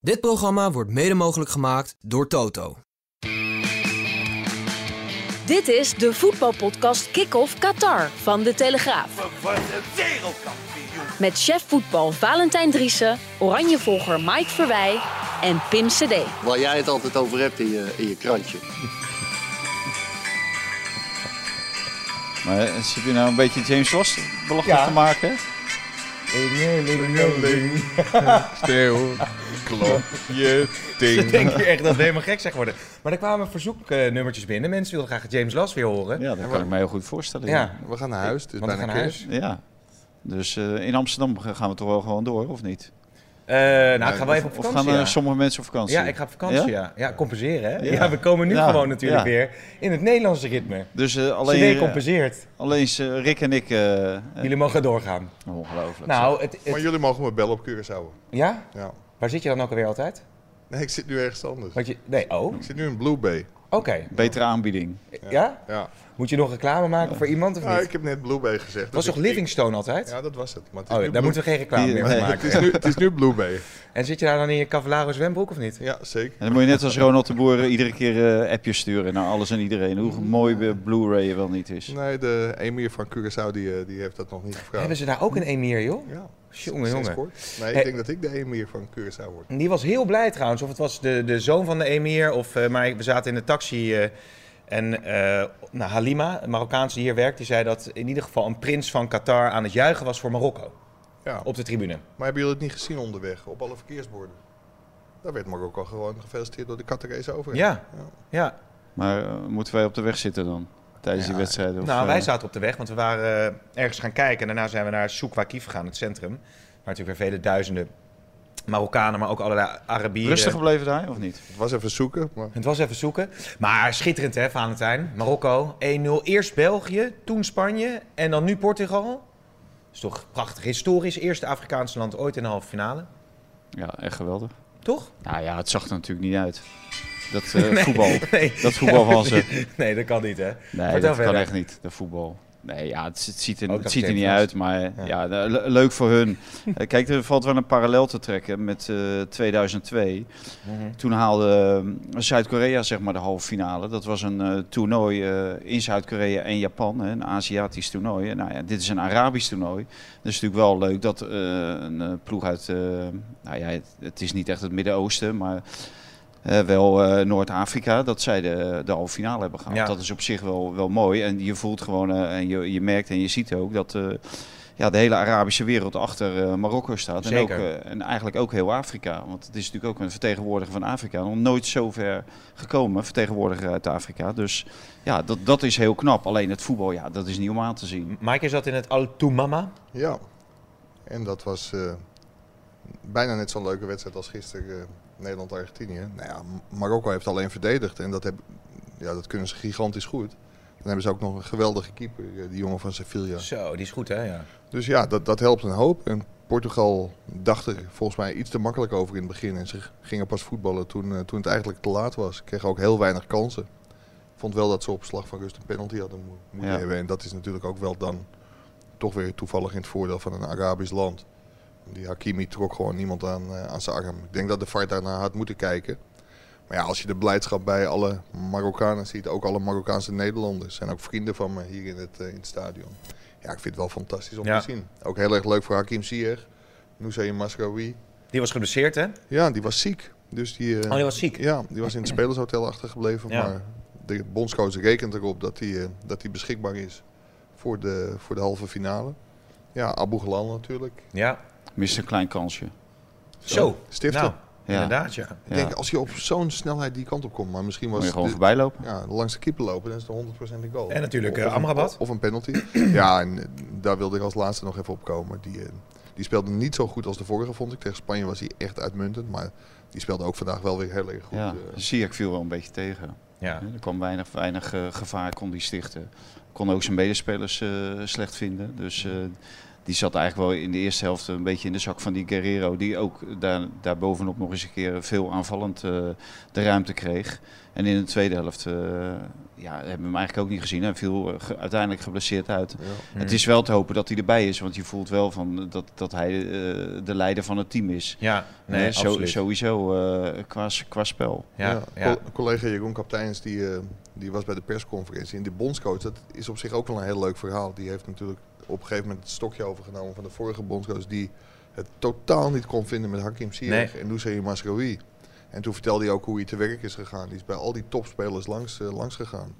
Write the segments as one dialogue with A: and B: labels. A: Dit programma wordt mede mogelijk gemaakt door Toto.
B: Dit is de voetbalpodcast Kick-Off Qatar van De Telegraaf.
C: We worden wereldkampioen.
B: Met chef voetbal Valentijn Driessen, Oranjevolger Mike Verwij en Pim CD.
D: Waar jij het altijd over hebt in je, in je krantje.
E: Maar eh, zit je nou een beetje James Ross belachelijk
F: Ja.
E: te maken?
G: Stil, klop je
F: Ik
G: ding.
F: denk hier echt dat we helemaal gek zijn geworden. Maar er kwamen verzoeknummertjes binnen. Mensen wilden graag James Last weer horen.
E: Ja, dat kan ik me heel goed voorstellen.
F: Ja.
G: We gaan naar huis, het is
F: Want we gaan
G: bijna
F: naar
G: kerst.
F: huis.
E: ja. Dus eh, in Amsterdam gaan we toch wel gewoon door, of niet?
F: Eh, nou, ik ga wel even op
E: Of
F: vakantie.
E: gaan eh,
F: ja.
E: sommige mensen op vakantie?
F: Ja, ik ga op vakantie, ja. Ja, compenseren, hè? Ja,
E: Ja.
F: we komen nu
E: Ja,
F: gewoon natuurlijk
E: ja.
F: weer in het Nederlandse ritme.
E: Dus eh, alleen,
F: Alleen, CD
E: eh,
F: compenseert.
E: alleen eh, Rick en ik... eh, eh,
F: Jullie mogen doorgaan.
E: ongelooflijk.
F: Nou, het, het-
G: Maar jullie mogen me bellen op Curaçao.
F: ja?
G: Ja.
F: Waar zit je dan ook alweer altijd?
G: Nee, ik zit nu ergens anders.
F: Want je, nee, oh, oké.
G: Ik zit nu in Blue Bay.
E: Betere aanbieding.
F: Ja.
G: Ja.
F: Moet je nog reclame maken voor iemand of niet?
G: Ah, ik heb net Blue Bay gezegd.
F: was
G: dus
F: toch
G: ik-
F: Livingstone altijd?
G: ik- Ja, dat was het. Maar het is
F: oh,
G: nu
F: daar
G: Blue-
F: moeten we geen reclame meer van
E: Nee.
F: maken.
G: het is, nu, het is nu Blue Bay.
F: En zit je daar dan in je Cavallaro zwembroek of niet?
G: Ja, zeker.
E: En dan moet je net als Ronald de Boer eh, iedere keer eh, appjes sturen naar alles en iedereen. Hoe mooi eh, Blu-ray wel niet is.
G: Nee, de emir van Curaçao die, eh, die heeft dat nog niet gevraagd.
F: Hebben ze daar ook een emir, joh?
G: Ja.
F: Jongen,
G: Sinds
F: jongen.
G: kort. Nee, ik
F: Hey.
G: denk dat ik de emir van Curaçao word.
F: Die was heel blij trouwens. Of het was de, de zoon van de emir. Of, eh, maar we zaten in de taxi. eh, en eh, nou, Halima, een Marokkaanse die hier werkt, die zei dat in ieder geval een prins van Qatar aan het juichen was voor Marokko.
G: Ja.
F: Op de tribune.
G: Maar hebben jullie het niet gezien onderweg op alle verkeersborden? Daar werd Marokko gewoon gefeliciteerd door de Qatarese overheid.
F: Ja, ja.
E: Maar eh, moeten wij op de weg zitten dan? Tijdens die wedstrijd? Of,
F: nou, wij
E: eh,
F: zaten op de weg, want we waren eh, ergens gaan kijken. En daarna zijn we naar Souk Waqif gegaan, het centrum. Waar natuurlijk weer vele duizenden Marokkanen, maar ook allerlei Arabieren.
E: Rustig gebleven daar, of niet?
G: Het was even zoeken, maar
F: Het was even zoeken. Maar schitterend hè, Valentijn. Marokko, 1-0. Eerst België, toen Spanje en dan nu Portugal. is toch prachtig. Historisch, eerste Afrikaanse land ooit in de halve finale.
E: Ja, echt geweldig.
F: Toch?
E: Nou ja, het zag er natuurlijk niet uit. Dat eh, voetbal.
F: Nee,
E: Dat voetbal van ze.
F: nee dat kan niet hè.
E: Nee,
F: Vertel
E: dat
F: verder.
E: kan echt niet, de voetbal. Nee, ja, het, het ziet er,
F: Ook
E: het
F: dat
E: ziet er
F: James
E: niet
F: was.
E: uit, maar ja.
F: Ja.
E: de- le- leuk voor hun. Eh, Kijk, er valt wel een parallel te trekken met eh, 2002.
F: Mhm.
E: Toen haalde eh, Zuid-Korea zeg maar de halve finale. Dat was een eh, toernooi eh, in Zuid-Korea en Japan, hè, een Aziatisch toernooi. En Nou ja, dit is een Arabisch toernooi. Dat is natuurlijk wel leuk dat eh, een eh, ploeg uit, eh, nou ja, het, het is niet echt het Midden-Oosten, maar eh, wel eh, Noord-Afrika, dat zij de, de halve finale hebben gehaald.
F: Ja.
E: Dat is op zich wel, wel mooi. En je voelt gewoon, eh, en je, je merkt en je ziet ook dat eh, ja, de hele Arabische wereld achter eh, Marokko staat.
F: Zeker.
E: En, ook, eh, en eigenlijk ook heel Afrika. Want het is natuurlijk ook een vertegenwoordiger van Afrika. Nog nooit zo ver gekomen, vertegenwoordiger uit Afrika. Dus ja, dat, dat is heel knap. Alleen het voetbal, ja, dat is niet om aan te zien.
F: Maaike zat in het Al Toumama.
G: ja. En dat was eh, bijna net zo'n leuke wedstrijd als gisteren eh, Nederland-Argentinië. Nou ja, M- Marokko heeft alleen verdedigd en dat, heb, ja, dat kunnen ze gigantisch goed. Dan hebben ze ook nog een geweldige keeper, eh, die jongen van Sevilla.
F: Zo, die is goed hè. Ja.
G: Dus ja, dat, dat helpt een hoop. En Portugal dacht er volgens mij iets te makkelijk over in het begin. En ze gingen pas voetballen toen, eh, toen het eigenlijk te laat was. Kregen ook heel weinig kansen. Vond wel dat ze op slag van rust een penalty hadden mo- moeten
E: Ja.
G: hebben. En dat is natuurlijk ook wel dan toch weer toevallig in het voordeel van een Arabisch land. Die Hakimi trok gewoon niemand aan, eh, aan zijn arm. Ik denk dat de VAR daarna had moeten kijken. Maar ja, als je de blijdschap bij alle Marokkanen ziet, ook alle Marokkaanse Nederlanders, zijn ook vrienden van me hier in het, eh, in het stadion. Ja, ik vind het wel fantastisch om
F: Ja.
G: te zien. Ook heel erg leuk voor Hakim Ziyech, Moussa Masraoui.
F: Die was geblesseerd hè.
G: Ja, die was ziek. Dus die, eh,
F: Oh, die was ziek.
G: Ja, die was in het spelershotel achtergebleven.
F: Ja.
G: Maar de bondscoach rekent erop dat hij dat die beschikbaar is voor de, voor de halve finale. Ja, Abu Ghalal natuurlijk.
F: Ja.
E: Mist een klein kansje.
F: Zo.
G: Stiften.
F: Nou,
E: Ja.
F: inderdaad ja.
G: Ik denk, als je op zo'n snelheid die kant op komt, maar misschien was
E: Moet je gewoon
G: de-
E: voorbij lopen.
G: Ja, langs de keeper lopen, dan is het 100% een goal.
F: En natuurlijk,
G: Of-
F: eh,
G: of een-
F: Amrabat.
G: Of een penalty. ja, en eh, daar wilde ik als laatste nog even op komen. Die, eh, Die speelde niet zo goed als de vorige, vond ik. Tegen Spanje was hij echt uitmuntend. Maar die speelde ook vandaag wel weer heel erg goed.
E: Ja,
G: eh.
E: zie ik viel wel een beetje tegen.
F: Ja.
E: Er kwam weinig, weinig eh, gevaar, kon die stichten. Kon ook zijn medespelers eh, slecht vinden. Dus eh, die zat eigenlijk wel in de eerste helft een beetje in de zak van die Guerrero. Die ook daar, daarbovenop nog eens een keer veel aanvallend eh, de ruimte kreeg. En in de tweede helft eh, ja, hebben we hem eigenlijk ook niet gezien. Hij viel eh, ge- uiteindelijk geblesseerd uit. Het is wel te hopen dat hij erbij is. Want je voelt wel van dat, dat hij eh, de leider van het team is.
F: Ja, nee,
E: Hè, zo-
F: absoluut.
E: sowieso eh, qua, qua spel.
F: Ja, ja.
G: Co- Collega Jeroen Kapteins die, eh, die was bij de persconferentie. En de bondscoach, dat is op zich ook wel een heel leuk verhaal. Die heeft natuurlijk op een gegeven moment het stokje overgenomen van de vorige bondscoach. Die het totaal niet kon vinden met Hakim Ziyech en Hussein Masraoui. En toen vertelde hij ook hoe hij te werk is gegaan. Die is bij al die topspelers langs, eh, langs gegaan.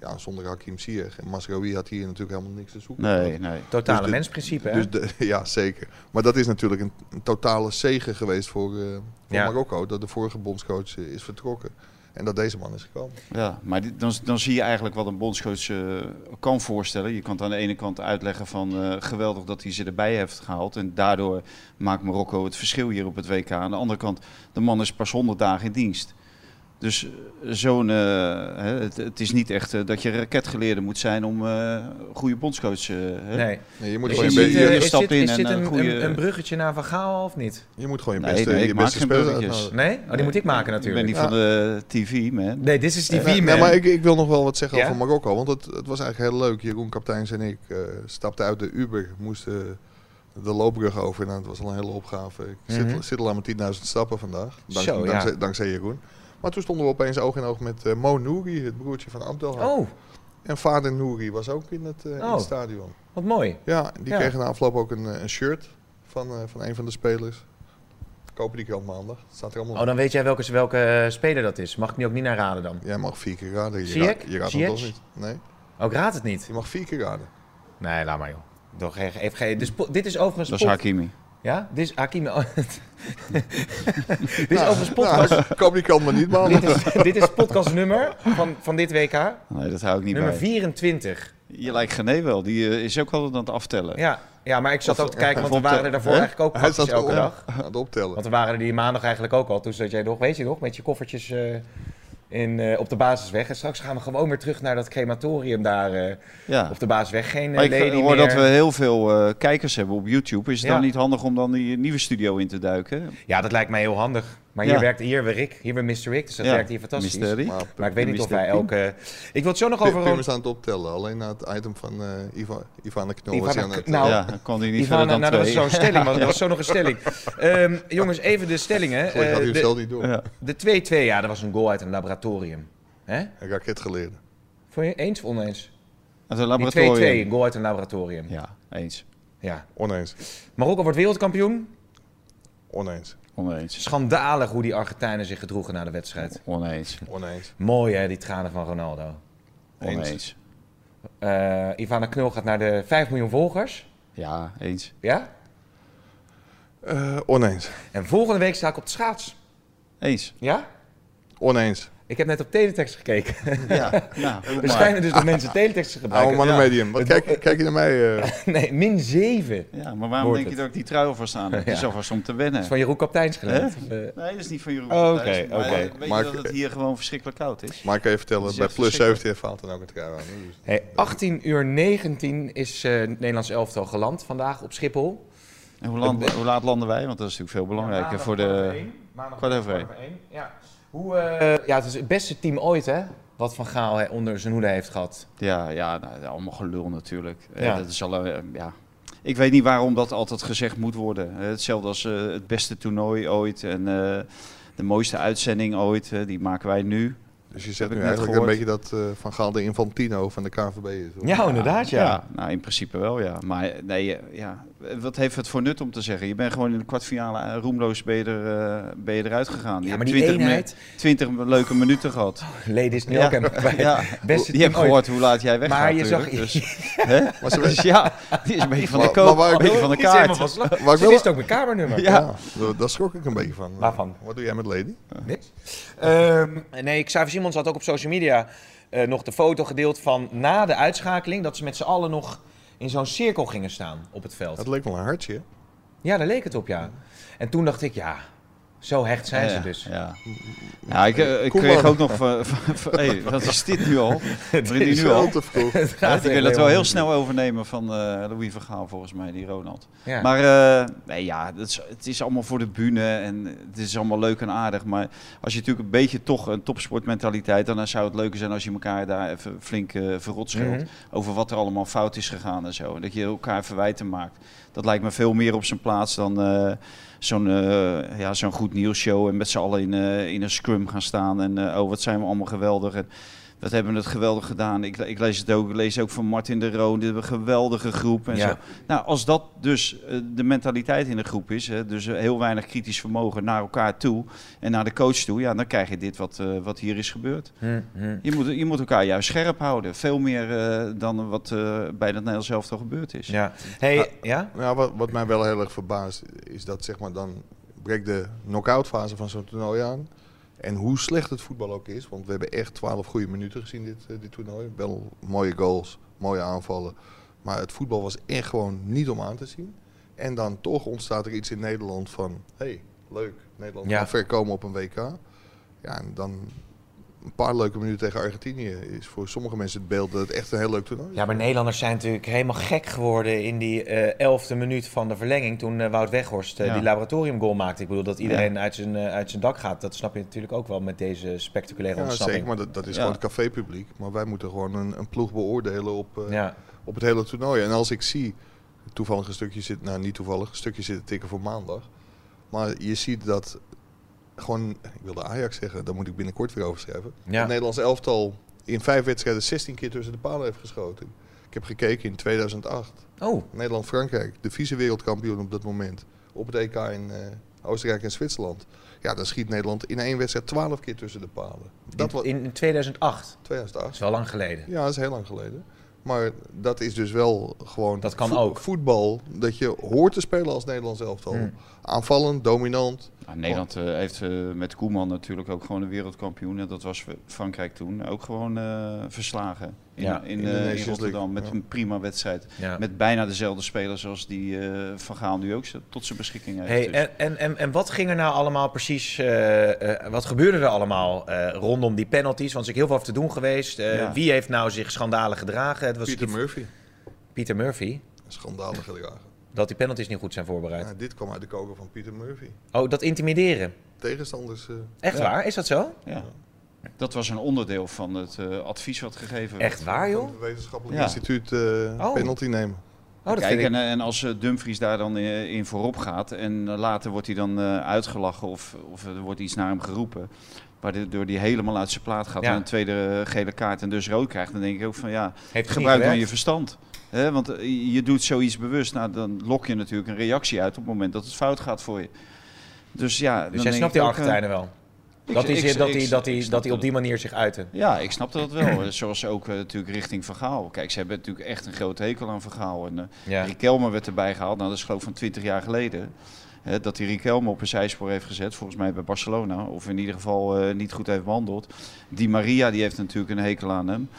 G: Ja, zonder Hakim Ziyech. En Masraoui had hier natuurlijk helemaal niks te zoeken.
E: Nee, nee.
F: Totale
G: dus de-
F: mensprincipe, hè?
G: Dus de- ja, zeker. Maar dat is natuurlijk een, een totale zegen geweest voor, eh, voor
F: Ja.
G: Marokko. Dat de vorige bondscoach eh, is vertrokken. En dat deze man is gekomen.
E: Ja, maar dit- dan, dan zie je eigenlijk wat een bondscoach eh, kan voorstellen. Je kan het aan de ene kant uitleggen van eh, geweldig dat hij ze erbij heeft gehaald. En daardoor maakt Marokko het verschil hier op het WK. Aan de andere kant, de man is pas 100 dagen in dienst. Dus eh, zo'n, eh, hè, het, het is niet echt eh, dat je raketgeleerde moet zijn om eh, goede bondscoach eh, hè.
F: Nee.
G: Nee, je moet
E: Dus
F: Is
G: gewoon je,
F: dit,
G: be-
F: eh,
G: je-
E: je
F: is
E: stapt
F: dit-
E: in
F: is
E: en
F: dit
E: een
F: een,
E: goede-
F: een, een bruggetje naar Van Gaal of niet?
G: je moet gewoon je
E: Nee,
G: beste,
E: nee, ik
G: je
E: maak
G: beste
E: geen
G: spelers
E: bruggetjes.
G: uithalen.
F: Nee? Oh, die moet ik maken
E: Eh, Ik ben
F: natuurlijk.
E: niet van de TV, man.
F: Nee, dit is die
G: Nee,
F: V-man.
G: nee, maar ik, ik wil nog wel wat zeggen
F: Ja?
G: over Marokko. Want het, het was eigenlijk heel leuk. Jeroen Kapteins en ik eh, stapten uit de Uber. Moesten de loopbrug over. Nou, het was al een hele opgave. Ik zit,
F: Mhm.
G: zit al aan mijn 10.000 stappen vandaag. Dank,
F: Zo, ja.
G: dankzij, dankzij Jeroen. Maar toen stonden we opeens oog in oog met eh, Mo Nouri, het broertje van Abdelhak.
F: Oh,
G: En vader Nouri was ook in het, eh, in
F: Oh.
G: het stadion.
F: wat mooi.
G: Ja, die
F: Ja.
G: kregen na afloop ook een, eh, een shirt van, eh, van een van de spelers. Kopen die krant maandag. Het staat er allemaal
F: Oh,
G: op.
F: dan weet jij welke, welke eh, speler dat is. Mag ik nu ook niet naar raden dan?
G: Jij mag vier keer raden. Je,
F: Ziyech?
G: raad- je raadt
F: Ziyech?
G: hem toch niet. Nee,
F: Oh, ik raad het niet.
G: je mag vier keer raden.
F: Nee, laat maar joh. Toch even, even, geen- dus, po- dit is overigens...
E: Dat is
F: pot-
E: Hakimi.
F: Ja? Dit is Hakimi. oh, dit is overigens podcast...
G: Nou, koop die krant maar niet maandag.
F: dit, is, dit is podcastnummer van, van dit WK.
E: Nee, dat hou ik niet
F: Nummer
E: bij.
F: 24.
E: Je lijkt Gené wel. Die eh, is ook altijd aan het aftellen.
F: Ja. ja, maar ik zat ook te kijken, want we
E: of op de-
F: waren er daarvoor
E: hè?
F: eigenlijk ook
G: Hij
F: praktisch
G: staat
F: elke
G: op,
F: dag.
G: aan het optellen.
F: Want we waren er die maandag eigenlijk ook al. Toen zat jij nog, weet je nog, met je koffertjes eh, in, eh, op de basisweg. En straks gaan we gewoon weer terug naar dat crematorium daar eh,
E: Ja.
F: op de basisweg. Geen eh,
E: Maar ik
F: lady
E: hoor
F: meer.
E: dat we heel veel eh, kijkers hebben op YouTube. Is het
F: Ja.
E: dan niet handig om dan die nieuwe studio in te duiken?
F: Ja, dat lijkt mij heel handig. Maar hier
E: Ja.
F: werkt hier weer Rick, hier weer Mr. Rick. Dus dat
E: Ja,
F: werkt hier fantastisch.
E: Mr. Rick.
G: Maar
F: Maar ik weet niet of
E: Mr.
F: wij
E: Pim.
F: elke... Ik wil het zo nog
G: Pim,
F: over...
G: Pim is aan het optellen. Alleen na het item van eh Ivan, Ivan de Knol was hij
F: Ivana-
G: aan het...
F: nou,
E: ja, dan kan die niet
F: Ivana,
E: verder dan
F: nou, dat was
E: twee.
F: zo'n stelling. want Dat was zo nog een stelling. Ehm, jongens, even de stellingen.
G: ik had
F: Eh,
G: hij het
F: de-
G: zelf niet door.
E: Ja.
F: De 2-2, ja, dat was een goal uit een laboratorium. Hè?
G: Een raket geleerd.
F: Vond je eens of oneens?
E: Uit een
F: Die 2-2,
E: laboratorium.
F: een goal uit een laboratorium. Ja.
E: Ja, eens.
G: Oneens.
F: Marokko wordt wereldkampioen.
G: Oneens.
E: Oneens.
F: Schandalig hoe die Argentijnen zich gedroegen na de wedstrijd.
E: Oneens.
G: Oneens.
F: Mooi hè, die tranen van Ronaldo.
E: Oneens.
F: Eh, Ivana Knul gaat naar de 5 miljoen volgers.
E: Ja, eens.
F: Ja?
G: Eh, oneens.
F: En volgende week sta ik op de schaats.
E: Eens.
F: Ja?
G: Oneens.
F: Ik heb net op teletext gekeken.
E: Ja, ja. nou, doe
F: Er
E: maar.
F: schijnen dus nog mensen teletext te
G: Oude
F: gebruiken.
G: mannen
F: Ja.
G: medium. Wat kijk, kijk je naar mij? eh?
F: Nee, min 7. Dat
E: ja, maar waarom
F: Hoort
E: denk je
F: het.
E: dat ik die trui alvast aan heb? Het is
F: Ja.
E: alvast om te
F: is
E: wennen.
F: van Jeroen Kapteins geleend. Eh,
E: Nee, dat is niet van Jeroen.
F: Oh, oké,
E: Thijs, maar
F: oké.
E: Weet
G: Maar-
E: je dat het hier gewoon verschrikkelijk koud is?
G: maar ik kan je vertellen,
E: is
G: bij
E: echt
G: plus
E: verschrikkelijk.
G: 17 faalt dan ook een trui aan. Dus-
F: Hey, 18 uur 19 is eh, het Nederlands elftal geland vandaag op Schiphol.
E: En hoe, land- hoe laat landen wij? Want dat is natuurlijk veel belangrijker voor de... kwart over kwart één.
F: Ja. Hoe, eh, ja, het is het beste team ooit, hè? Wat Van Gaal hè, onder zijn hoede heeft gehad.
E: Ja, ja nou, allemaal gelul natuurlijk. Eh,
F: Ja.
E: dat is al, eh, ja. Ik weet niet waarom dat altijd gezegd moet worden. Eh, hetzelfde als eh, het beste toernooi ooit en eh, de mooiste uitzending ooit. eh, die maken wij nu.
G: Dus je zegt
E: ik
G: nu
E: net
G: eigenlijk een beetje
E: gehoord.
G: dat eh, Van Gaal de Infantino van de KVB is. hoor.
F: Ja, inderdaad, ja.
E: nou, in principe wel, ja. Maar eh, nee, eh, ja. Eh, wat heeft het voor nut om te zeggen? Je bent gewoon in de kwartfinale eh, roemloos ben je, er, eh, ben je eruit gegaan. je
F: maar
E: hebt
F: die
E: 20 me-
F: eenheid.
E: 20 leuke minuten gehad.
F: Ladies
E: Ja.
F: Nilk en bij
E: Ja.
F: beste
E: Je hebt
F: team ooit.
E: gehoord hoe laat jij weggaat
F: Maar je zag...
E: natuurlijk. Dus, hè?
G: Maar ze
E: Dus ja, die is een beetje van de
G: Maar- maar
E: koop,
G: waar ik-
E: een beetje van de
F: Iets helemaal
E: kaart.
F: van slag.
G: Waar ik
F: Ze
G: wel-
F: wist ook mijn kamernummer.
G: Ja, daar- daar schrok ik een beetje van.
F: Waarvan?
G: Wat doe jij met Lady?
F: Niks. Ehm, nee, Xavier Simons had ook op social media eh, nog de foto gedeeld van na de uitschakeling... dat ze met z'n allen nog in zo'n cirkel gingen staan op het veld.
G: Het leek wel een hartje. hè?
F: Ja, daar leek het op, ja. En toen dacht ik, ja, zo hecht zijn ze
E: Ja,
F: dus.
E: Ja. Ja, ik, eh, ik
G: Koeman.
E: kreeg ook nog van... van- van- hey, wat is dit nu al? Begint die nu
G: Veel
E: al?
G: te vroeg.
F: Het gaat
E: Ja, die
F: echt
E: wil het wel
F: helemaal
E: heel
F: niet.
E: snel overnemen van eh Louis Vergaal, volgens mij, die Ronald.
F: Ja.
E: Maar eh, nee, ja, het is, het is allemaal voor de bühne en het is allemaal leuk en aardig. Maar als je natuurlijk een beetje toch een topsportmentaliteit... dan zou het leuker zijn als je elkaar daar even flink eh verrot scheelt.
F: Mhm.
E: Over wat er allemaal fout is gegaan en zo. En dat je elkaar verwijten maakt. Dat lijkt me veel meer op zijn plaats dan eh, zo'n eh, ja, zo'n goed nieuwsshow... en met z'n allen in, eh, in een scrum gaan staan. En eh, oh, wat zijn we allemaal geweldig. En dat hebben we het geweldig gedaan. Ik, ik lees het ook, ik lees ook van Martin de Roon, de geweldige groep en
F: Ja.
E: zo. Nou, als dat dus eh, de mentaliteit in de groep is, hè, dus eh, heel weinig kritisch vermogen naar elkaar toe en naar de coach toe, ja, dan krijg je dit wat, eh, wat hier is gebeurd.
F: Hm, hm.
E: Je moet, je moet elkaar juist scherp houden, veel meer eh, dan wat eh, bij dat Nederlands elftal gebeurd is.
F: Ja. Hey,
G: Ah.
F: ja?
G: Nou, wat, wat mij wel heel erg verbaast is dat zeg maar dan breekt de knock-out fase van zo'n toernooi aan. En hoe slecht het voetbal ook is, want we hebben echt 12 goede minuten gezien dit, eh, dit toernooi. Wel mooie goals, mooie aanvallen. Maar het voetbal was echt gewoon niet om aan te zien. En dan toch ontstaat er iets in Nederland van, hé, hey, leuk, Nederland
F: Ja.
G: kan ver komen op een WK. Ja, en dan een paar leuke minuten tegen Argentinië is voor sommige mensen het beeld dat het echt een heel leuk toernooi is.
F: Ja, maar Nederlanders zijn natuurlijk helemaal gek geworden in die eh, elfde minuut van de verlenging. Toen eh, Wout Weghorst eh,
E: Ja.
F: die laboratoriumgoal maakte. Ik bedoel, dat iedereen uit, zijn, eh, uit zijn dak gaat. Dat snap je natuurlijk ook wel met deze spectaculaire
G: Ja,
F: ontsnapping.
G: zeker, maar dat, dat is
E: Ja.
G: gewoon het cafépubliek. Maar wij moeten gewoon een, een ploeg beoordelen op, eh,
F: Ja,
G: op het hele toernooi. En als ik zie, toevallig een stukje zit, nou niet toevallig, een stukje zit te tikken voor maandag. Maar je ziet dat gewoon, ik wilde Ajax zeggen, daar moet ik binnenkort weer over schrijven.
F: Ja.
G: Het Nederlands elftal in vijf wedstrijden 16 keer tussen de palen heeft geschoten. Ik heb gekeken in 2008,
F: Oh,
G: Nederland-Frankrijk, de vice-wereldkampioen op dat moment. Op het EK in eh, Oostenrijk en Zwitserland. Ja, dan schiet Nederland in één wedstrijd 12 keer tussen de palen. Dat
F: dat
G: was
F: in, in 2008. Dat
G: 2008.
F: is wel lang geleden.
G: Ja, dat is heel lang geleden. Maar dat is dus wel gewoon
F: Dat kan
G: voet-
F: ook. Hmm.
G: voetbal dat je hoort te spelen als Nederlands elftal. Aanvallend, dominant.
E: Nou, Nederland eh, heeft eh, met Koeman natuurlijk ook gewoon een wereldkampioen. En dat was Frankrijk toen ook gewoon eh, verslagen in,
F: Ja,
E: in,
G: in de
E: eh, in
G: Nations
E: Rotterdam.
G: League,
E: Met
G: ja.
E: een prima wedstrijd.
F: Ja.
E: Met bijna dezelfde spelers als die eh Van Gaal nu ook z- tot zijn beschikking heeft.
F: Hey,
E: Dus-
F: en, en, en, en wat ging er nou allemaal precies, eh, eh, wat gebeurde er allemaal eh, rondom die penalties? Want er is heel veel over te doen geweest. Eh,
E: Ja.
F: Wie heeft nou zich schandalig gedragen? Het was
G: Peter
F: die-
G: Murphy.
F: Pieter Murphy.
G: Schandalig gedragen.
F: Dat die penalties niet goed zijn voorbereid.
G: Ja, dit kwam uit de koker van Peter Murphy.
F: Oh, dat intimideren.
G: Tegenstanders. eh,
F: Echt
E: Ja.
F: waar? Is dat zo?
E: ja. Dat was een onderdeel van het eh, advies wat gegeven werd.
F: Echt waar,
G: van
F: joh?
G: het wetenschappelijk
E: Ja.
G: instituut eh, penalty nemen.
F: Oh, dat
E: Kijk,
F: vind ik...
E: en, eh, en als eh, Dumfries daar dan eh, in voorop gaat en eh, later wordt hij dan eh, uitgelachen of, of er wordt iets naar hem geroepen, waardoor hij helemaal uit zijn plaat gaat
F: Ja.
E: en een tweede eh, gele kaart en dus rood krijgt, dan denk ik ook van ja,
F: Heeft het niet
E: gebruik dan je
F: gewerkt?
E: verstand. hè? want eh, je doet zoiets bewust, nou, dan lok je natuurlijk een reactie uit op het moment dat het fout gaat voor je. Dus ja, dan
F: Dus jij
E: denk
F: snapt
E: ik
F: die
E: ook, eh,
F: Argentijnen wel?
E: ik-
F: Dat
E: ik-
F: hij dat
E: ik-
F: die- dat
E: ik
F: die-
E: snap
F: dat die op
E: dat.
F: die manier zich uiten?
E: eh, Ja, ik snapte dat wel. Eh, Zoals ook eh, natuurlijk richting Vergaal. Kijk, ze hebben natuurlijk echt een groot hekel aan Vergaal. En eh
F: Ja.
E: Riquelme werd erbij gehaald. Nou, dat is geloof ik van 20 jaar geleden. Hè, dat hij Riquelme op een zijspoor heeft gezet. Volgens mij bij Barcelona. Of in ieder geval eh, niet goed heeft behandeld. Die Maria, die heeft natuurlijk een hekel aan hem.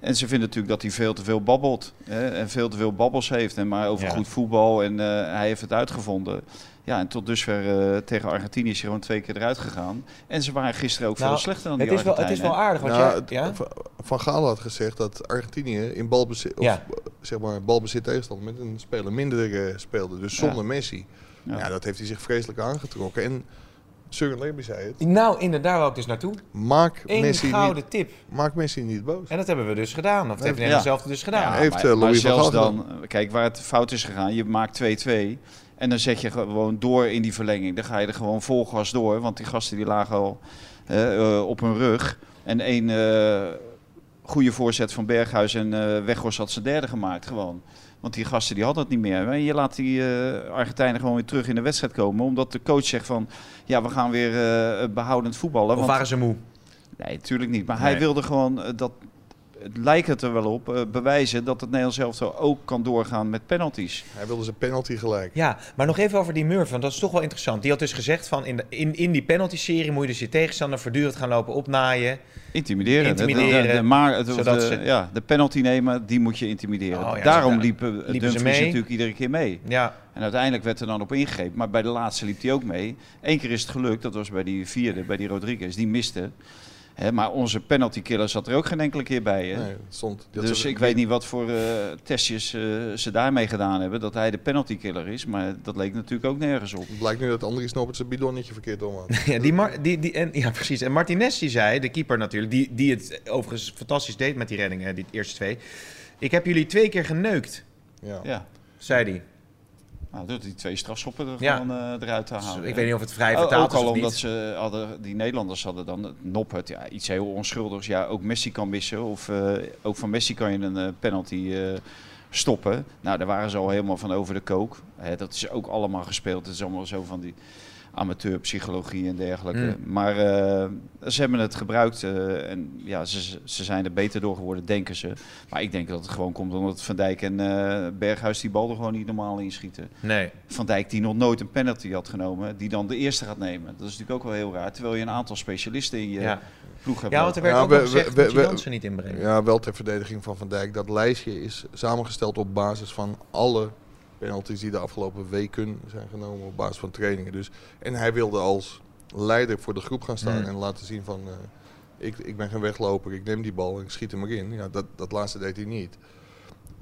E: En ze vinden natuurlijk dat hij veel te veel babbelt. Hè, en veel te veel babbels heeft. En maar over
F: Ja.
E: goed voetbal. En eh, hij heeft het uitgevonden. Ja, en tot dusver eh, tegen Argentinië is hij gewoon twee keer eruit gegaan. En ze waren gisteren ook
F: Nou,
E: veel slechter dan
F: Het
E: die
F: is, wel, het is
E: Argentijnen,
F: wel
E: hè.
F: aardig, want
G: Nou,
F: jij-
G: het-
F: ja?
G: Va- Van Gaal had gezegd dat Argentinië in balbezit, of,
F: Ja.
G: eh, zeg maar, balbezit tegenstander met een speler minder eh, speelde. Dus zonder Messi.
E: Ja.
G: Ja. dat heeft hij zich vreselijk aangetrokken. En Søren Lerby zei het.
F: Nou, inderdaad, wou ik dus naartoe.
G: Maak
F: Eén
G: Messi, niet,
F: gouden tip.
G: maak Messi niet boos.
F: En dat hebben we dus gedaan. Of dat heeft
E: Ja.
F: Nederland zelf dus gedaan.
E: Ja,
G: heeft, eh, Louis van
E: zelfs
G: Gaal
E: dan, kijk, waar het fout is gegaan, je maakt 2-2 en dan zet je gewoon door in die verlenging. Dan ga je er gewoon vol gas door, want die gasten die lagen al eh, eh, op hun rug. En één eh, goede voorzet van Berghuis en eh Weghorst had zijn derde gemaakt gewoon. Want die gasten die hadden het niet meer. En je laat die eh, Argentijnen gewoon weer terug in de wedstrijd komen. Omdat de coach zegt van, ja, we gaan weer eh, behoudend voetballen.
F: Of
E: want-
F: waren ze moe?
E: Nee, natuurlijk niet. Maar
F: Nee.
E: hij wilde gewoon eh, dat. Het lijkt het er wel op, eh, bewijzen dat het Nederlands elftal ook kan doorgaan met penalties.
G: Hij wilde zijn penalty gelijk.
F: Ja, maar nog even over die Murphy, want dat is toch wel interessant. Die had dus gezegd van in, de- in, in die penalty-serie moet je dus je tegenstander voortdurend gaan lopen opnaaien.
E: Intimideren.
F: Intimideren,
E: De, de, de, maar het- of
F: zodat
E: de-
F: ze-
E: ja, de penalty nemen, die moet je intimideren.
F: Oh ja,
E: Daarom
F: dus
E: liepen
F: daar-
E: eh,
F: liepen ze
E: liepen Dumfries
F: mee.
E: natuurlijk iedere keer mee.
F: Ja,
E: En uiteindelijk werd er dan op ingegrepen. Maar bij de laatste liep hij ook mee. Eén keer is het gelukt, dat was bij die vierde, bij die Rodriguez. Die miste. Hè, maar onze penalty killer zat er ook geen enkele keer bij. Hè?
G: Nee, dat stond. die had
E: Dus
G: ze-
E: ik weet niet wat voor eh, testjes eh, ze daarmee gedaan hebben. Dat hij de penalty killer is. Maar dat leek natuurlijk ook nergens op.
G: Het blijkt nu dat Andries Snoppert zijn bidonnetje verkeerd om had.
F: Ja, die Mar- die, die, en, ja, precies. En Martinez die zei, de keeper natuurlijk, die, die het overigens fantastisch deed met die reddingen, die eerste twee. Ik heb jullie twee keer geneukt,
G: Ja.
E: Ja.
F: zei hij.
E: Nou, door die twee strafschoppen er
F: Ja.
E: gewoon eh, eruit te
F: Dus
E: halen.
F: ik weet niet of het vrij
E: O-
F: vertaald
E: Oh, ook
F: is
E: al
F: of niet.
E: omdat ze hadden, die Nederlanders hadden dan het Noppert, ja, iets heel onschuldigs. Ja, ook Messi kan missen. Of eh, ook van Messi kan je een eh, penalty eh, stoppen. Nou, daar waren ze al helemaal van over de kook. Hè, dat is ook allemaal gespeeld. Het is allemaal zo van die amateurpsychologie en dergelijke.
F: Hmm.
E: Maar eh, ze hebben het gebruikt eh, en ja, ze, ze zijn er beter door geworden, denken ze. Maar ik denk dat het gewoon komt omdat Van Dijk en eh, Berghuis die bal er gewoon niet normaal in schieten.
F: Nee.
E: Van Dijk die nog nooit een penalty had genomen, die dan de eerste gaat nemen. Dat is natuurlijk ook wel heel raar, terwijl je een aantal specialisten in je
F: Ja.
E: ploeg hebt.
F: ja, want er werd
G: Ja,
F: ook
G: we-
F: nog gezegd
G: we-
F: dat je
G: we-
F: Jansen niet inbrengt.
G: Ja, wel ter verdediging van Van Dijk. Dat lijstje is samengesteld op basis van alle penalties die de afgelopen weken zijn genomen op basis van trainingen. Dus, en hij wilde als leider voor de groep gaan staan
F: Mm.
G: en laten zien van eh, ik, ik ben geen wegloper, ik neem die bal en ik schiet hem erin. Ja, dat, dat laatste deed hij niet.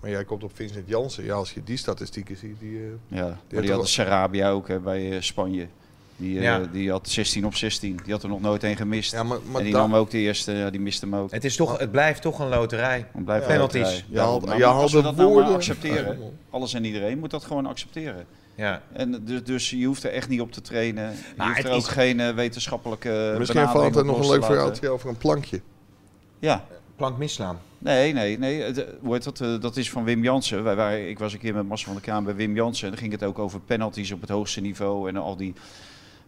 G: Maar jij komt op Vincent Jansen. Ja, als je die statistieken ziet, die, eh,
E: ja, maar
G: toch
E: die
G: wel-
E: had Sarabia ook hè, bij eh, Spanje. Die, eh,
F: Ja.
E: die had 16 op 16, die had er nog nooit één gemist.
G: ja, maar, maar
E: en die
G: daar-
E: nam ook de eerste, ja, die miste hem ook.
F: Het, is toch, het blijft toch een loterij.
E: Dan blijven we
F: Penalties.
E: erbij.
G: je haalt,
E: Nou,
G: je
E: maar
G: haalt
E: als we
G: de
E: dat nou
G: woorden.
E: maar accepteren,
G: Ja.
E: alles en iedereen moet dat gewoon accepteren.
F: Ja.
E: En dus, dus je hoeft er echt niet op te trainen. Je
F: Maar
E: hoeft er
F: Nou, het
E: ook
F: is-
E: geen eh, wetenschappelijke
G: Misschien
E: benadering
G: valt er
E: op los
G: nog een
E: te
G: leuk
E: laten.
G: verhaaltje over een plankje.
E: Ja,
F: Plank misslaan.
E: Nee, nee, nee. Het, eh, Hoe heet dat? Eh, Dat is van Wim Jansen. Wij waren, ik was een keer met Marcel van der Kaan bij Wim Jansen. En dan ging het ook over penalties op het hoogste niveau. En al die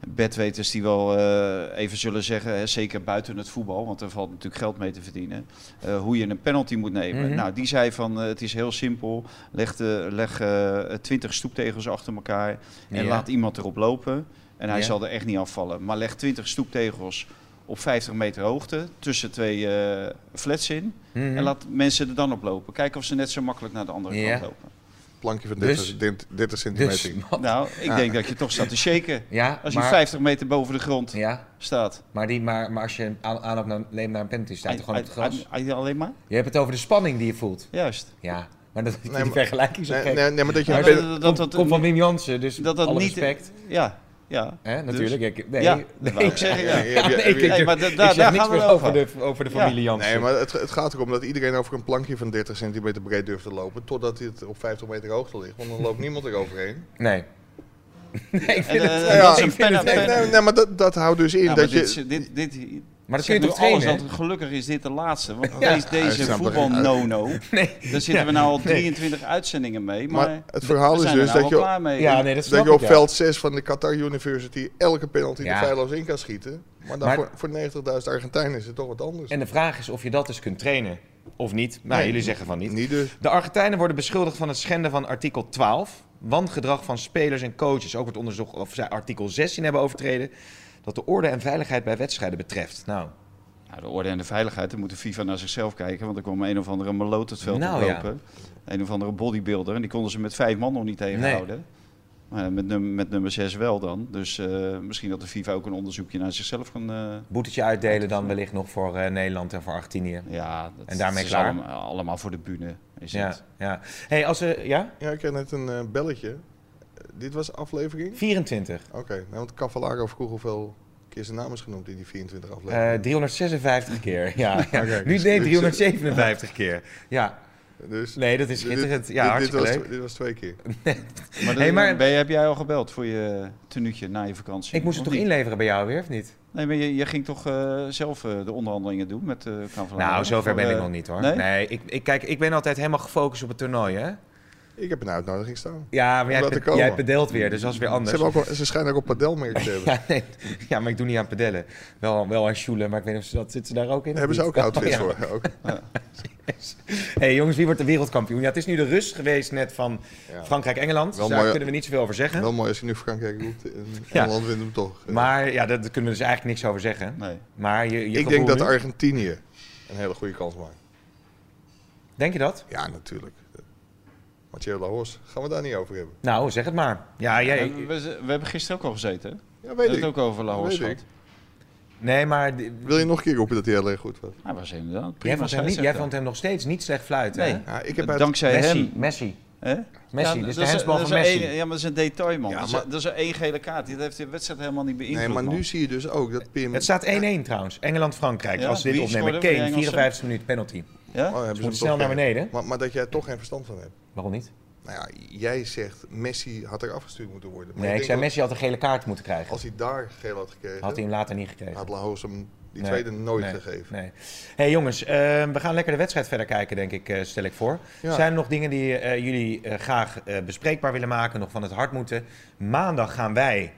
E: bedweters die wel eh, even zullen zeggen, hè, zeker buiten het voetbal, want er valt natuurlijk geld mee te verdienen, eh, hoe je een penalty moet nemen.
F: Mhm.
E: Nou, die zei van, eh, het is heel simpel. Leg, de, leg eh, twintig stoeptegels achter elkaar en
F: Ja.
E: laat iemand erop lopen. En hij
F: Ja.
E: zal er echt niet afvallen. Maar leg 20 stoeptegels op 50 meter hoogte tussen twee eh, flats in.
F: Mhm.
E: En laat mensen er dan op lopen. Kijken of ze net zo makkelijk naar de andere
F: Ja.
E: kant lopen.
G: Plankje van
F: Dus-
G: 30, 30
F: Dus,
G: centimeter.
F: wat-
E: Nou, ik denk dat je toch staat te shaken.
F: ja,
E: Als je
F: maar,
E: 50 meter boven de grond
F: ja,
E: staat.
F: maar, die, maar, maar als je aan, aanloop naar- neemt naar een penalty, staat er gewoon op het
E: Ai- ai-
F: gras.
E: ai- ai- alleen maar?
F: Je hebt het over de spanning die je voelt.
E: Juist.
F: Ja, maar dat
G: Nee,
F: die
G: maar-
F: vergelijking zo
G: Nee,
F: gek.
G: nee, nee, maar dat je
F: Maar
G: een
F: dat-
G: pen-
E: dat-
F: Komt-
E: dat-
F: komt van Wim Jansen, dus
E: Dat dat
F: alle
E: niet...
F: respect.
E: Ja, ja.
F: Hè,
E: Dus-
F: natuurlijk. Ik- nee,
E: ja,
F: nee.
E: dat wou ik zeggen, ja.
G: Ja, ja,
F: Nee, ik,
G: ja,
E: Nee,
F: ik-
E: maar da-
F: ik
E: daar-
F: zeg
E: daar
F: niks
E: gaan we
F: meer
E: over.
F: over de, over de
E: Ja.
F: familie Jansen.
G: Nee, maar het, het gaat erom dat iedereen over een plankje van 30 centimeter breed durft te lopen. Totdat het op 50 meter hoogte ligt. Want dan loopt niemand eroverheen.
F: Nee. Nee, ik
E: En,
F: vind
E: eh,
F: het...
G: ja,
E: dat is
G: ik
E: een
F: vind
E: pen-
F: het-
G: Nee,
E: pen-
G: nee, nee maar dat, dat houdt dus in
E: Ja, maar
G: dat
E: dit,
F: Ah,
G: je.
E: is- dit, dit, dit,
F: Maar dat kun
E: zeg
F: je
E: nu
F: toch
E: alles
F: trainen?
E: dat- gelukkig is dit de laatste. Want
F: Ja.
E: deze,
G: Hij snapt
E: deze
G: er
E: voetbal
G: geen uit.
E: no-no.
F: Nee.
E: Daar zitten we nou al 23 uitzendingen mee. Maar,
G: Maar het verhaal
E: we
G: is
E: zijn er
G: dus
E: nou
G: dat
E: wel
G: je-
E: klaar mee.
F: Ja, nee, dat snap
G: Dat je op
F: ik, ja.
G: veld 6 van de Qatar University elke penalty
F: Ja.
G: er feilloos in kan schieten. Maar, dan
F: Maar-
G: voor, voor 90.000 Argentijnen is het toch wat anders.
F: En de vraag is of je dat dus kunt trainen. Of niet. Nou,
G: Nee.
F: jullie zeggen van niet.
G: Niet dus.
F: De Argentijnen worden beschuldigd van het schenden van artikel 12. Wangedrag van spelers en coaches. Ook wordt onderzocht of zij artikel 16 hebben overtreden. Dat de orde en veiligheid bij wedstrijden betreft. Nou,
E: Nou, de orde en de veiligheid, dan moet de FIFA naar zichzelf kijken. Want er kwam een of andere maloot het veld
F: Nou,
E: oplopen. Een of andere bodybuilder. En die konden ze met vijf man nog niet tegenhouden. Maar ja, met, num- met nummer zes wel dan. Dus eh, misschien dat de FIFA ook een onderzoekje naar zichzelf kan... eh,
F: boetetje uitdelen dan wellicht nog voor eh, Nederland en voor Argentinië.
E: ja, dat
F: En daarmee
E: is
F: klaar?
E: allem- Allemaal, voor de bühne is
F: Ja,
E: het.
F: ja. hey, als we... Ja?
G: Ja, ik kreeg net een eh, belletje. Eh, dit was aflevering?
F: 24.
G: Oké, nou, want Cavallaro vroeg hoeveel keer zijn naam is genoemd in die 24 afleveringen.
F: Eh, 356 keer. Ja, ja.
G: Oké,
F: nu
G: dus-
F: deed
G: dus-
F: 357 keer. Ja,
G: dus,
F: Eh, nee, dat is
G: dit- dit-
F: schitterend. Ja,
G: dit- dit,
F: hartstikke
G: was,
F: leuk.
G: dit was twee keer.
E: Maar,
F: Hey,
E: dan-
F: maar-
E: ben je- heb jij al gebeld voor je tenuutje na je vakantie?
F: Ik moest
E: of
F: het toch
E: niet?
F: inleveren bij jou weer, of niet?
E: Nee, maar je, je ging toch eh, zelf eh, de onderhandelingen doen met eh Cavallaro?
F: Nou, zover
E: Voor,
F: ben ik
E: eh,
F: nog niet hoor. Nee,
E: nee?
F: ik, ik, kijk, ik ben altijd helemaal gefocust op het toernooi, hè?
G: Ik heb een uitnodiging staan.
F: Ja, maar jij,
G: Om dat
F: pe-
G: te komen.
F: jij pedelt weer, dus dat is weer
G: Ze,
F: anders.
G: hebben ook, wel- ze schijnen ook op padelmerk te hebben.
F: Ja, nee. ja, maar ik doe niet aan pedellen. Wel, wel aan sjoelen, maar ik weet niet of ze dat... Zit ze daar ook in? of
G: Hebben ze
F: niet?
G: ook outfits
F: Oh, ja.
G: voor? Ook.
F: Hé hey, jongens, wie wordt de wereldkampioen? Ja, het is nu de rust geweest net van
G: Ja.
F: Frankrijk-Engeland.
G: Wel
F: Dus daar
G: mooi.
F: kunnen we niet zoveel over zeggen.
G: Wel mooi als je nu Frankrijk roept. En
F: Ja.
G: Engeland wint hem toch. Eh,
F: Maar ja, daar daar kunnen we dus eigenlijk niks over zeggen.
E: Nee.
F: Maar je, je
G: ik
F: gevoel
G: denk dat
F: nu?
G: Argentinië een hele goede kans maakt.
F: Denk je dat?
G: Ja, natuurlijk. Mathieu Lahors, gaan we daar niet over hebben?
F: Nou, zeg het maar. Ja, jij,
E: we, we- we hebben gisteren ook al gezeten, hè? We
G: Ja,
E: hebben
G: weet
E: het
G: ik.
E: ook over Lahore
G: Weet
E: gehad.
G: ik.
F: nee, maar d-
G: Wil je nog een keer roepen dat hij heel erg goed was?
E: Hij was inderdaad prima
F: jij vond, hem niet, jij
E: scheidsrechter.
F: vond hem nog steeds niet slecht fluiten.
E: Nee.
F: hè?
G: Ja, ik heb uit...
E: Eh, Dankzij
F: Messi,
E: hem.
F: Messi.
E: Hè?
F: Messi,
E: Ja,
F: dus de
E: dat is-
F: handsbal
E: dat
F: van
E: is
F: Messi.
E: een- ja, maar dat is een detail, man.
G: Ja,
E: dat, is,
G: maar-
E: dat is een één gele kaart. Die heeft de wedstrijd helemaal niet beïnvloed,
G: Nee, maar
E: man.
G: nu zie je dus ook dat Pim...
F: Het staat 1-1 trouwens. Engeland-Frankrijk.
E: Ja,
F: als we dit
E: wie
F: opnemen.
E: scoorde?
F: Kane,
E: Wie Engelsen?
F: 54 minuten penalty.
E: Ja?
G: Oh,
F: Ze
G: hebben ze hem
F: moeten snel
G: toch
F: naar
G: weer.
F: beneden.
G: Maar, maar dat jij toch geen verstand van hebt.
F: Waarom niet?
G: Nou ja, jij zegt Messi had er afgestuurd moeten worden. Maar
F: Nee, ik
G: denk
F: zei
G: dat
F: Messi had een gele kaart moeten krijgen.
G: Als hij daar geel had gekregen,
F: Had hij hem later niet gekregen.
G: had Lahos hem die
F: Nee,
G: tweede nooit
F: nee,
G: gegeven.
F: Nee. hey, jongens, eh, we gaan lekker de wedstrijd verder kijken, denk ik, eh, stel ik voor.
G: Ja.
F: Zijn er nog dingen die eh, jullie eh, graag eh, bespreekbaar willen maken, nog van het hart moeten? Maandag gaan wij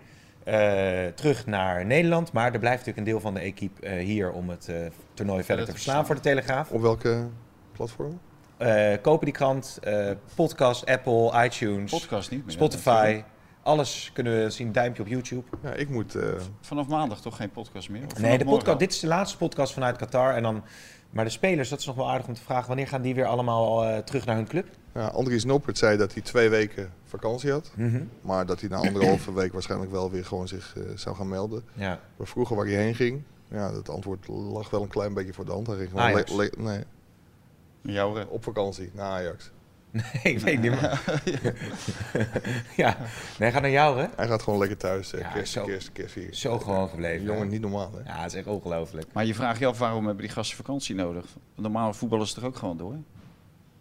F: eh, terug naar Nederland, maar er blijft natuurlijk een deel van de equipe eh, hier om het eh, toernooi verder te verslaan voor de Telegraaf.
G: Op welke platform?
F: Eh, kopen die krant, eh, podcast, Apple, iTunes,
E: Podcast niet meer.
F: Spotify, alles kunnen we zien, duimpje op YouTube.
G: Ja, ik moet... eh,
E: Vanaf maandag toch geen podcast meer? Of
F: Nee,
E: vanaf
F: de
E: morgen?
F: podcast, dit is de laatste podcast vanuit Qatar. En dan, maar de spelers, dat is nog wel aardig om te vragen. Wanneer gaan die weer allemaal eh, terug naar hun club?
G: ja, Andries Noppert zei dat hij twee weken vakantie had.
F: Mhm.
G: Maar dat hij na anderhalve week waarschijnlijk wel weer gewoon zich eh, zou gaan melden.
F: Ja.
G: Maar vroeger waar hij heen ging, ja, dat antwoord lag wel een klein beetje voor de hand. Hij ging gewoon
F: Ajax.
G: le- le- nee,
E: Jouw, eh,
G: op vakantie naar Ajax.
F: ik weet niet meer. ja. Nee, ga naar jou, hè?
G: Hij gaat gewoon lekker thuis. eh,
F: Ja,
G: kerst,
F: zo-
G: kerst, kerst hier.
F: Zo gewoon gebleven.
G: Jongen,
F: hè?
G: niet normaal hè?
F: Ja, het is echt ongelooflijk.
E: Maar je vraagt je af waarom hebben die gasten vakantie nodig? Normale voetballers toch ook gewoon door?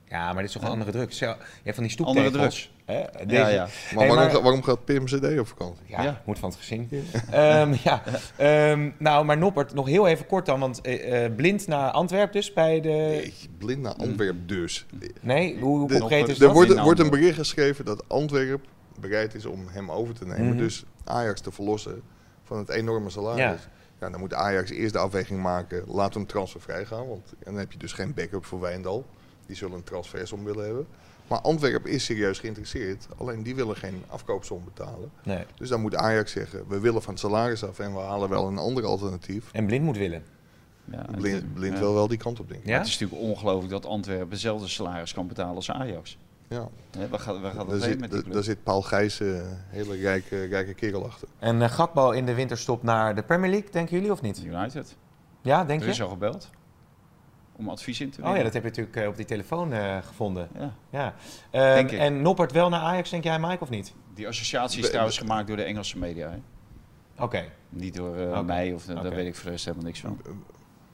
F: Ja, maar dit is toch een andere druk. Zo, je hebt van die
E: Andere
F: stoeptegels. Andere druk.
E: Ja, ja.
G: Maar,
F: Hey,
G: waarom,
F: maar-
G: ga- waarom gaat Pim CD op vakantie?
F: Ja,
E: Ja.
F: moet van het gezin. Ehm, ja. Ehm, nou, maar Noppert, nog heel even kort dan. Want eh, eh, blind naar Antwerpen dus bij de...
G: Jeetje, blind
F: Mm.
G: naar Antwerp dus.
F: Nee, hoe, hoe
G: De-
F: concreet is
E: de-
F: dat?
G: Er wordt,
E: in
G: wordt een
E: Antwerp?
G: bericht geschreven dat Antwerp bereid is om hem over te nemen.
F: Mhm.
G: Dus Ajax te verlossen van het enorme salaris. Ja. dan moet Ajax eerst de afweging maken. Laat hem transfervrij gaan. Want dan heb je dus geen backup voor Wijndal. Die zullen een transfersom willen hebben. Maar Antwerp is serieus geïnteresseerd. Alleen die willen geen afkoopsom betalen.
F: Nee.
G: Dus dan moet Ajax zeggen, we willen van het salaris af en we halen wel een ander alternatief.
F: En blind moet willen.
E: Ja, en
G: Blind,
E: het-
G: blind
E: ja.
G: wil wel die kant op, denk ik.
F: Ja?
E: Het is natuurlijk ongelooflijk dat Antwerpen dezelfde salaris kan betalen als Ajax.
G: Ja.
E: Hè, waar gaat, waar gaat
G: Daar,
E: dat heen met
G: zit,
E: die
G: daar,
E: club?
G: daar zit Paul Gijssen, een hele rijke, rijke kerel achter.
F: En eh, Gakpo in de winterstop naar de Premier League, denken jullie of niet?
E: United.
F: Ja, denk
E: Er is
F: je?
E: al gebeld. Om advies in te
F: Oh
E: winnen.
F: ja, dat heb je natuurlijk eh, op die telefoon eh, gevonden.
E: Ja.
F: Ja. Ehm,
E: Denk ik.
F: en Noppert wel naar Ajax, denk jij Mike, of niet?
E: Die associatie is
G: We-
E: trouwens gemaakt door de Engelse media. Hè?
F: Oké.
E: Niet door eh,
F: Oké.
E: mij, of, daar
F: Oké.
E: weet ik voor de rest helemaal niks van.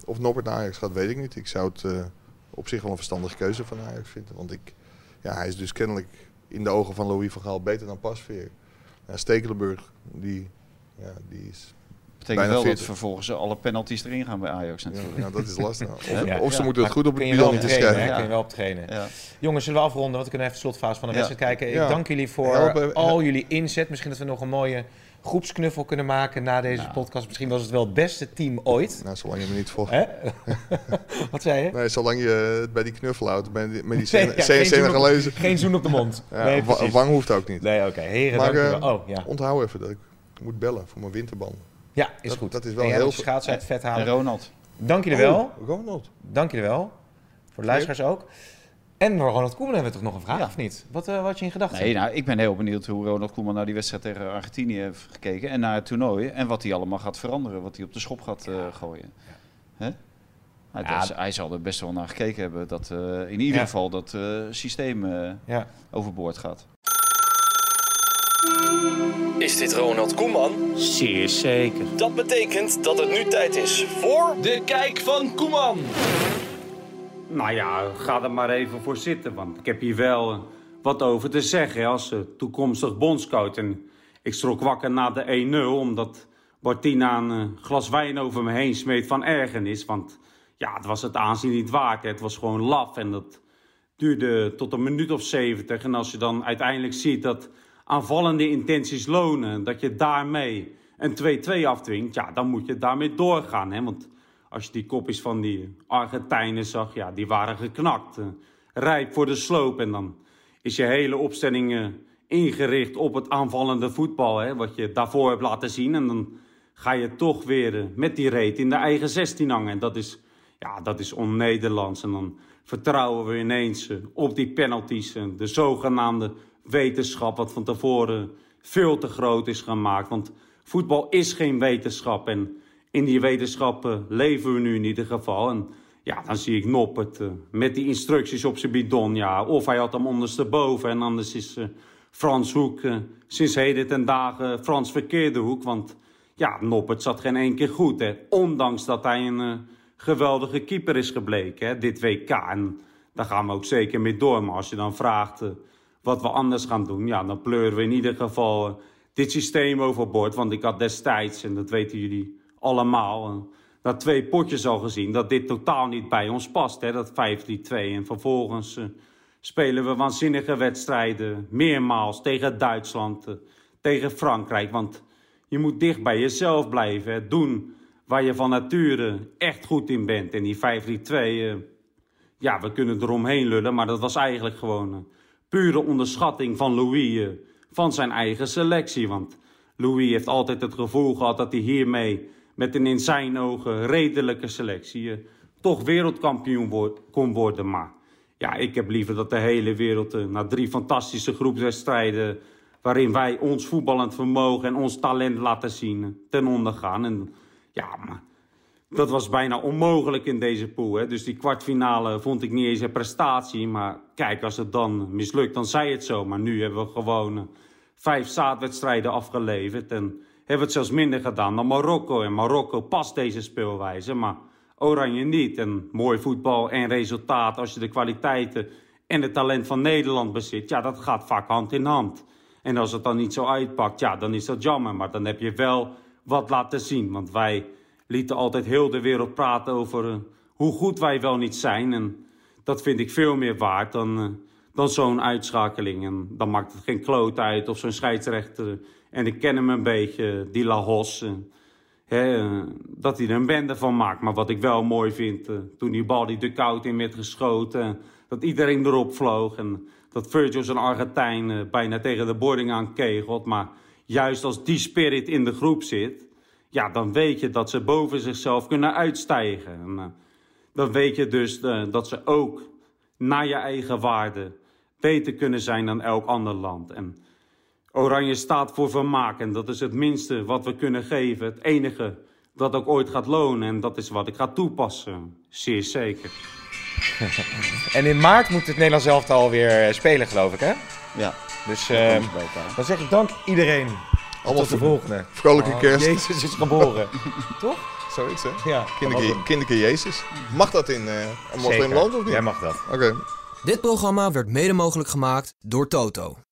G: Of Norbert naar Ajax gaat, weet ik niet. Ik zou het eh, op zich wel een verstandige keuze van Ajax vinden. Want ik, ja, hij is dus kennelijk in de ogen van Louis van Gaal beter dan Pasveer. Ja, Stekelenburg, die, ja, die is...
E: Betekent
G: Bijna
E: wel dat
G: 40.
E: vervolgens alle penalties erin gaan bij Ajax
G: Ja,
E: natuurlijk.
G: nou, dat is lastig. Of,
F: Ja.
G: of ze
E: Ja.
G: moeten het
F: Maar
G: goed op
F: kun
G: het
F: je wel op
G: bilan
F: trainen, hè?
G: schrijven.
E: Ja.
F: Kun je wel op trainen.
E: Ja.
F: Jongens, zullen we afronden, want we kunnen even de slotfase van de
E: Ja.
F: wedstrijd kijken. Ik
G: Ja.
F: dank jullie voor
G: Help even-
F: al jullie inzet. Misschien dat we nog een mooie groepsknuffel kunnen maken na deze podcast. Misschien was het wel het beste team ooit.
G: Nou, zolang je me niet volgt.
F: Hè? Wat zei je?
G: Nee, zolang je het bij die knuffel houdt, bij die, met die
F: Nee,
G: scène
F: ja,
G: scène-
F: geen,
G: scène
F: zoen op,
G: gelezen.
F: geen zoen op de mond.
G: Ja,
F: nee,
G: wa-
F: precies.
G: wang hoeft ook niet.
F: Nee, oké. Heren,
G: Maar,
F: dankjewel.
G: eh,
F: oh, ja.
G: Onthoud even dat ik moet bellen voor mijn winterbanden.
F: Ja, is
G: dat-
F: goed.
G: dat is wel
F: En jij
G: heel
F: moet je schaatsen uit het vet
E: En
F: halen.
E: Ronald.
F: Dank jullie wel.
G: Oh, Ronald.
F: Dank jullie wel. Voor de luisteraars ook. En voor Ronald Koeman hebben we toch nog een vraag,
E: Ja.
F: of niet? Wat eh, wat had je in gedachten?
E: Nee, nou, ik ben heel benieuwd hoe Ronald Koeman naar die wedstrijd tegen Argentinië heeft gekeken. En naar het toernooi. En wat hij allemaal gaat veranderen. Wat hij op de schop gaat eh, gooien. Hè? Hij,
F: Ja.
E: dat- hij zal er best wel naar gekeken hebben. Dat eh, in ieder
F: Ja.
E: geval dat eh, systeem eh,
F: Ja.
E: overboord gaat.
H: Is dit Ronald Koeman? Zeer zeker. Dat betekent dat het nu tijd is voor... De Kijk van Koeman.
I: Nou ja, ga er maar even voor zitten, want ik heb hier wel eh, wat over te zeggen als eh, toekomstig bondscoach. En ik schrok wakker na de 1-0, omdat Bartina een eh, glas wijn over me heen smeet van ergernis. Want ja, het was het aanzien niet waard. hè. Het was gewoon laf en dat duurde tot een minuut of zeventig. En als je dan uiteindelijk ziet dat aanvallende intenties lonen, en dat je daarmee een 2-2 afdwingt, ja, dan moet je daarmee doorgaan. Hè? Want als je die kopjes van die Argentijnen zag, ja, die waren geknakt. eh, rijp voor de sloop. En dan is je hele opstelling eh, ingericht op het aanvallende voetbal, hè? wat je daarvoor hebt laten zien. En dan ga je toch weer eh, met die reet in de eigen 16 hangen. En dat is Ja, dat is on-Nederlands. En dan vertrouwen we ineens eh, op die penalties en de zogenaamde wetenschap, wat van tevoren veel te groot is gemaakt. Want voetbal is geen wetenschap. En in die wetenschappen leven we nu in ieder geval. En ja, dan zie ik Noppert eh, met die instructies op zijn bidon. Ja, of hij had hem ondersteboven. En anders is eh, Frans Hoek eh, sinds heden ten dagen eh, Frans verkeerde hoek. Want ja, Noppert zat geen één keer goed. Hè. Ondanks dat hij een eh, geweldige keeper is gebleken hè, dit WK. En daar gaan we ook zeker mee door. Maar als je dan vraagt eh, wat we anders gaan doen... Ja, dan pleuren we in ieder geval eh, dit systeem overboord. Want ik had destijds, en dat weten jullie allemaal... eh, na twee potjes al gezien dat dit totaal niet bij ons past. Hè, dat 5-3-2. En vervolgens... eh, spelen we waanzinnige wedstrijden. Meermaals tegen Duitsland, eh, tegen Frankrijk. Want je moet dicht bij jezelf blijven. Hè. Doen waar je van nature echt goed in bent. En die 5-3-2, eh, ja, we kunnen eromheen lullen. Maar dat was eigenlijk gewoon een pure onderschatting van Louis. eh, van zijn eigen selectie. Want Louis heeft altijd het gevoel gehad dat hij hiermee. met een in zijn ogen redelijke selectie. eh, toch wereldkampioen wo- kon worden. Maar ja, ik heb liever dat de hele wereld eh, na drie fantastische groepswedstrijden. waarin wij ons voetballend vermogen en ons talent laten zien. eh, ten onder gaan. En ja, maar dat was bijna onmogelijk in deze pool. Hè? Dus die kwartfinale vond ik niet eens een prestatie. Maar kijk, als het dan mislukt, dan zei het zo. Maar nu hebben we gewoon eh, vijf zaadwedstrijden afgeleverd. En hebben we het zelfs minder gedaan dan Marokko. En Marokko past deze speelwijze, maar Oranje niet. En mooi voetbal en resultaat als je de kwaliteiten en het talent van Nederland bezit. Ja, dat gaat vaak hand in hand. En als het dan niet zo uitpakt, ja, dan is dat jammer. Maar dan heb je wel wat laten zien. Want wij lieten altijd heel de wereld praten over eh, hoe goed wij wel niet zijn. En dat vind ik veel meer waard dan, eh, dan zo'n uitschakeling. En dan maakt het geen kloot uit of zo'n scheidsrechter. eh, En ik ken hem een beetje, die Lahos. eh, hè, eh, dat hij er een bende van maakt. Maar wat ik wel mooi vind, eh, toen die bal die de koud in werd geschoten. eh, dat iedereen erop vloog. En dat Virgil zijn Argentijn eh, bijna tegen de boarding aan kegelt. Maar juist als die spirit in de groep zit. Ja, dan weet je dat ze boven zichzelf kunnen uitstijgen. En, eh, dan weet je dus eh, dat ze ook naar je eigen waarde beter kunnen zijn dan elk ander land. En Oranje staat voor vermaak en dat is het minste wat we kunnen geven. Het enige dat ook ooit gaat lonen en dat is wat ik ga toepassen. Zeer zeker.
F: En in maart moet het Nederlands elftal weer eh, spelen, geloof ik, hè?
E: Ja.
F: Dus
E: dat
F: eh,
E: komt bij elkaar.
F: dan zeg ik dank iedereen.
G: Allemaal
F: Tot de
G: voor-
F: volgende.
G: Vrolijke
F: Oh,
G: kerst.
F: Jezus is geboren.
G: Zoiets, hè?
F: ja,
G: Kinderke, kinderke Jezus. Mag dat in eh
F: Zeker.
G: een moslimland of niet?
F: Jij mag dat.
G: Oké.
A: Dit programma werd mede mogelijk gemaakt door Toto.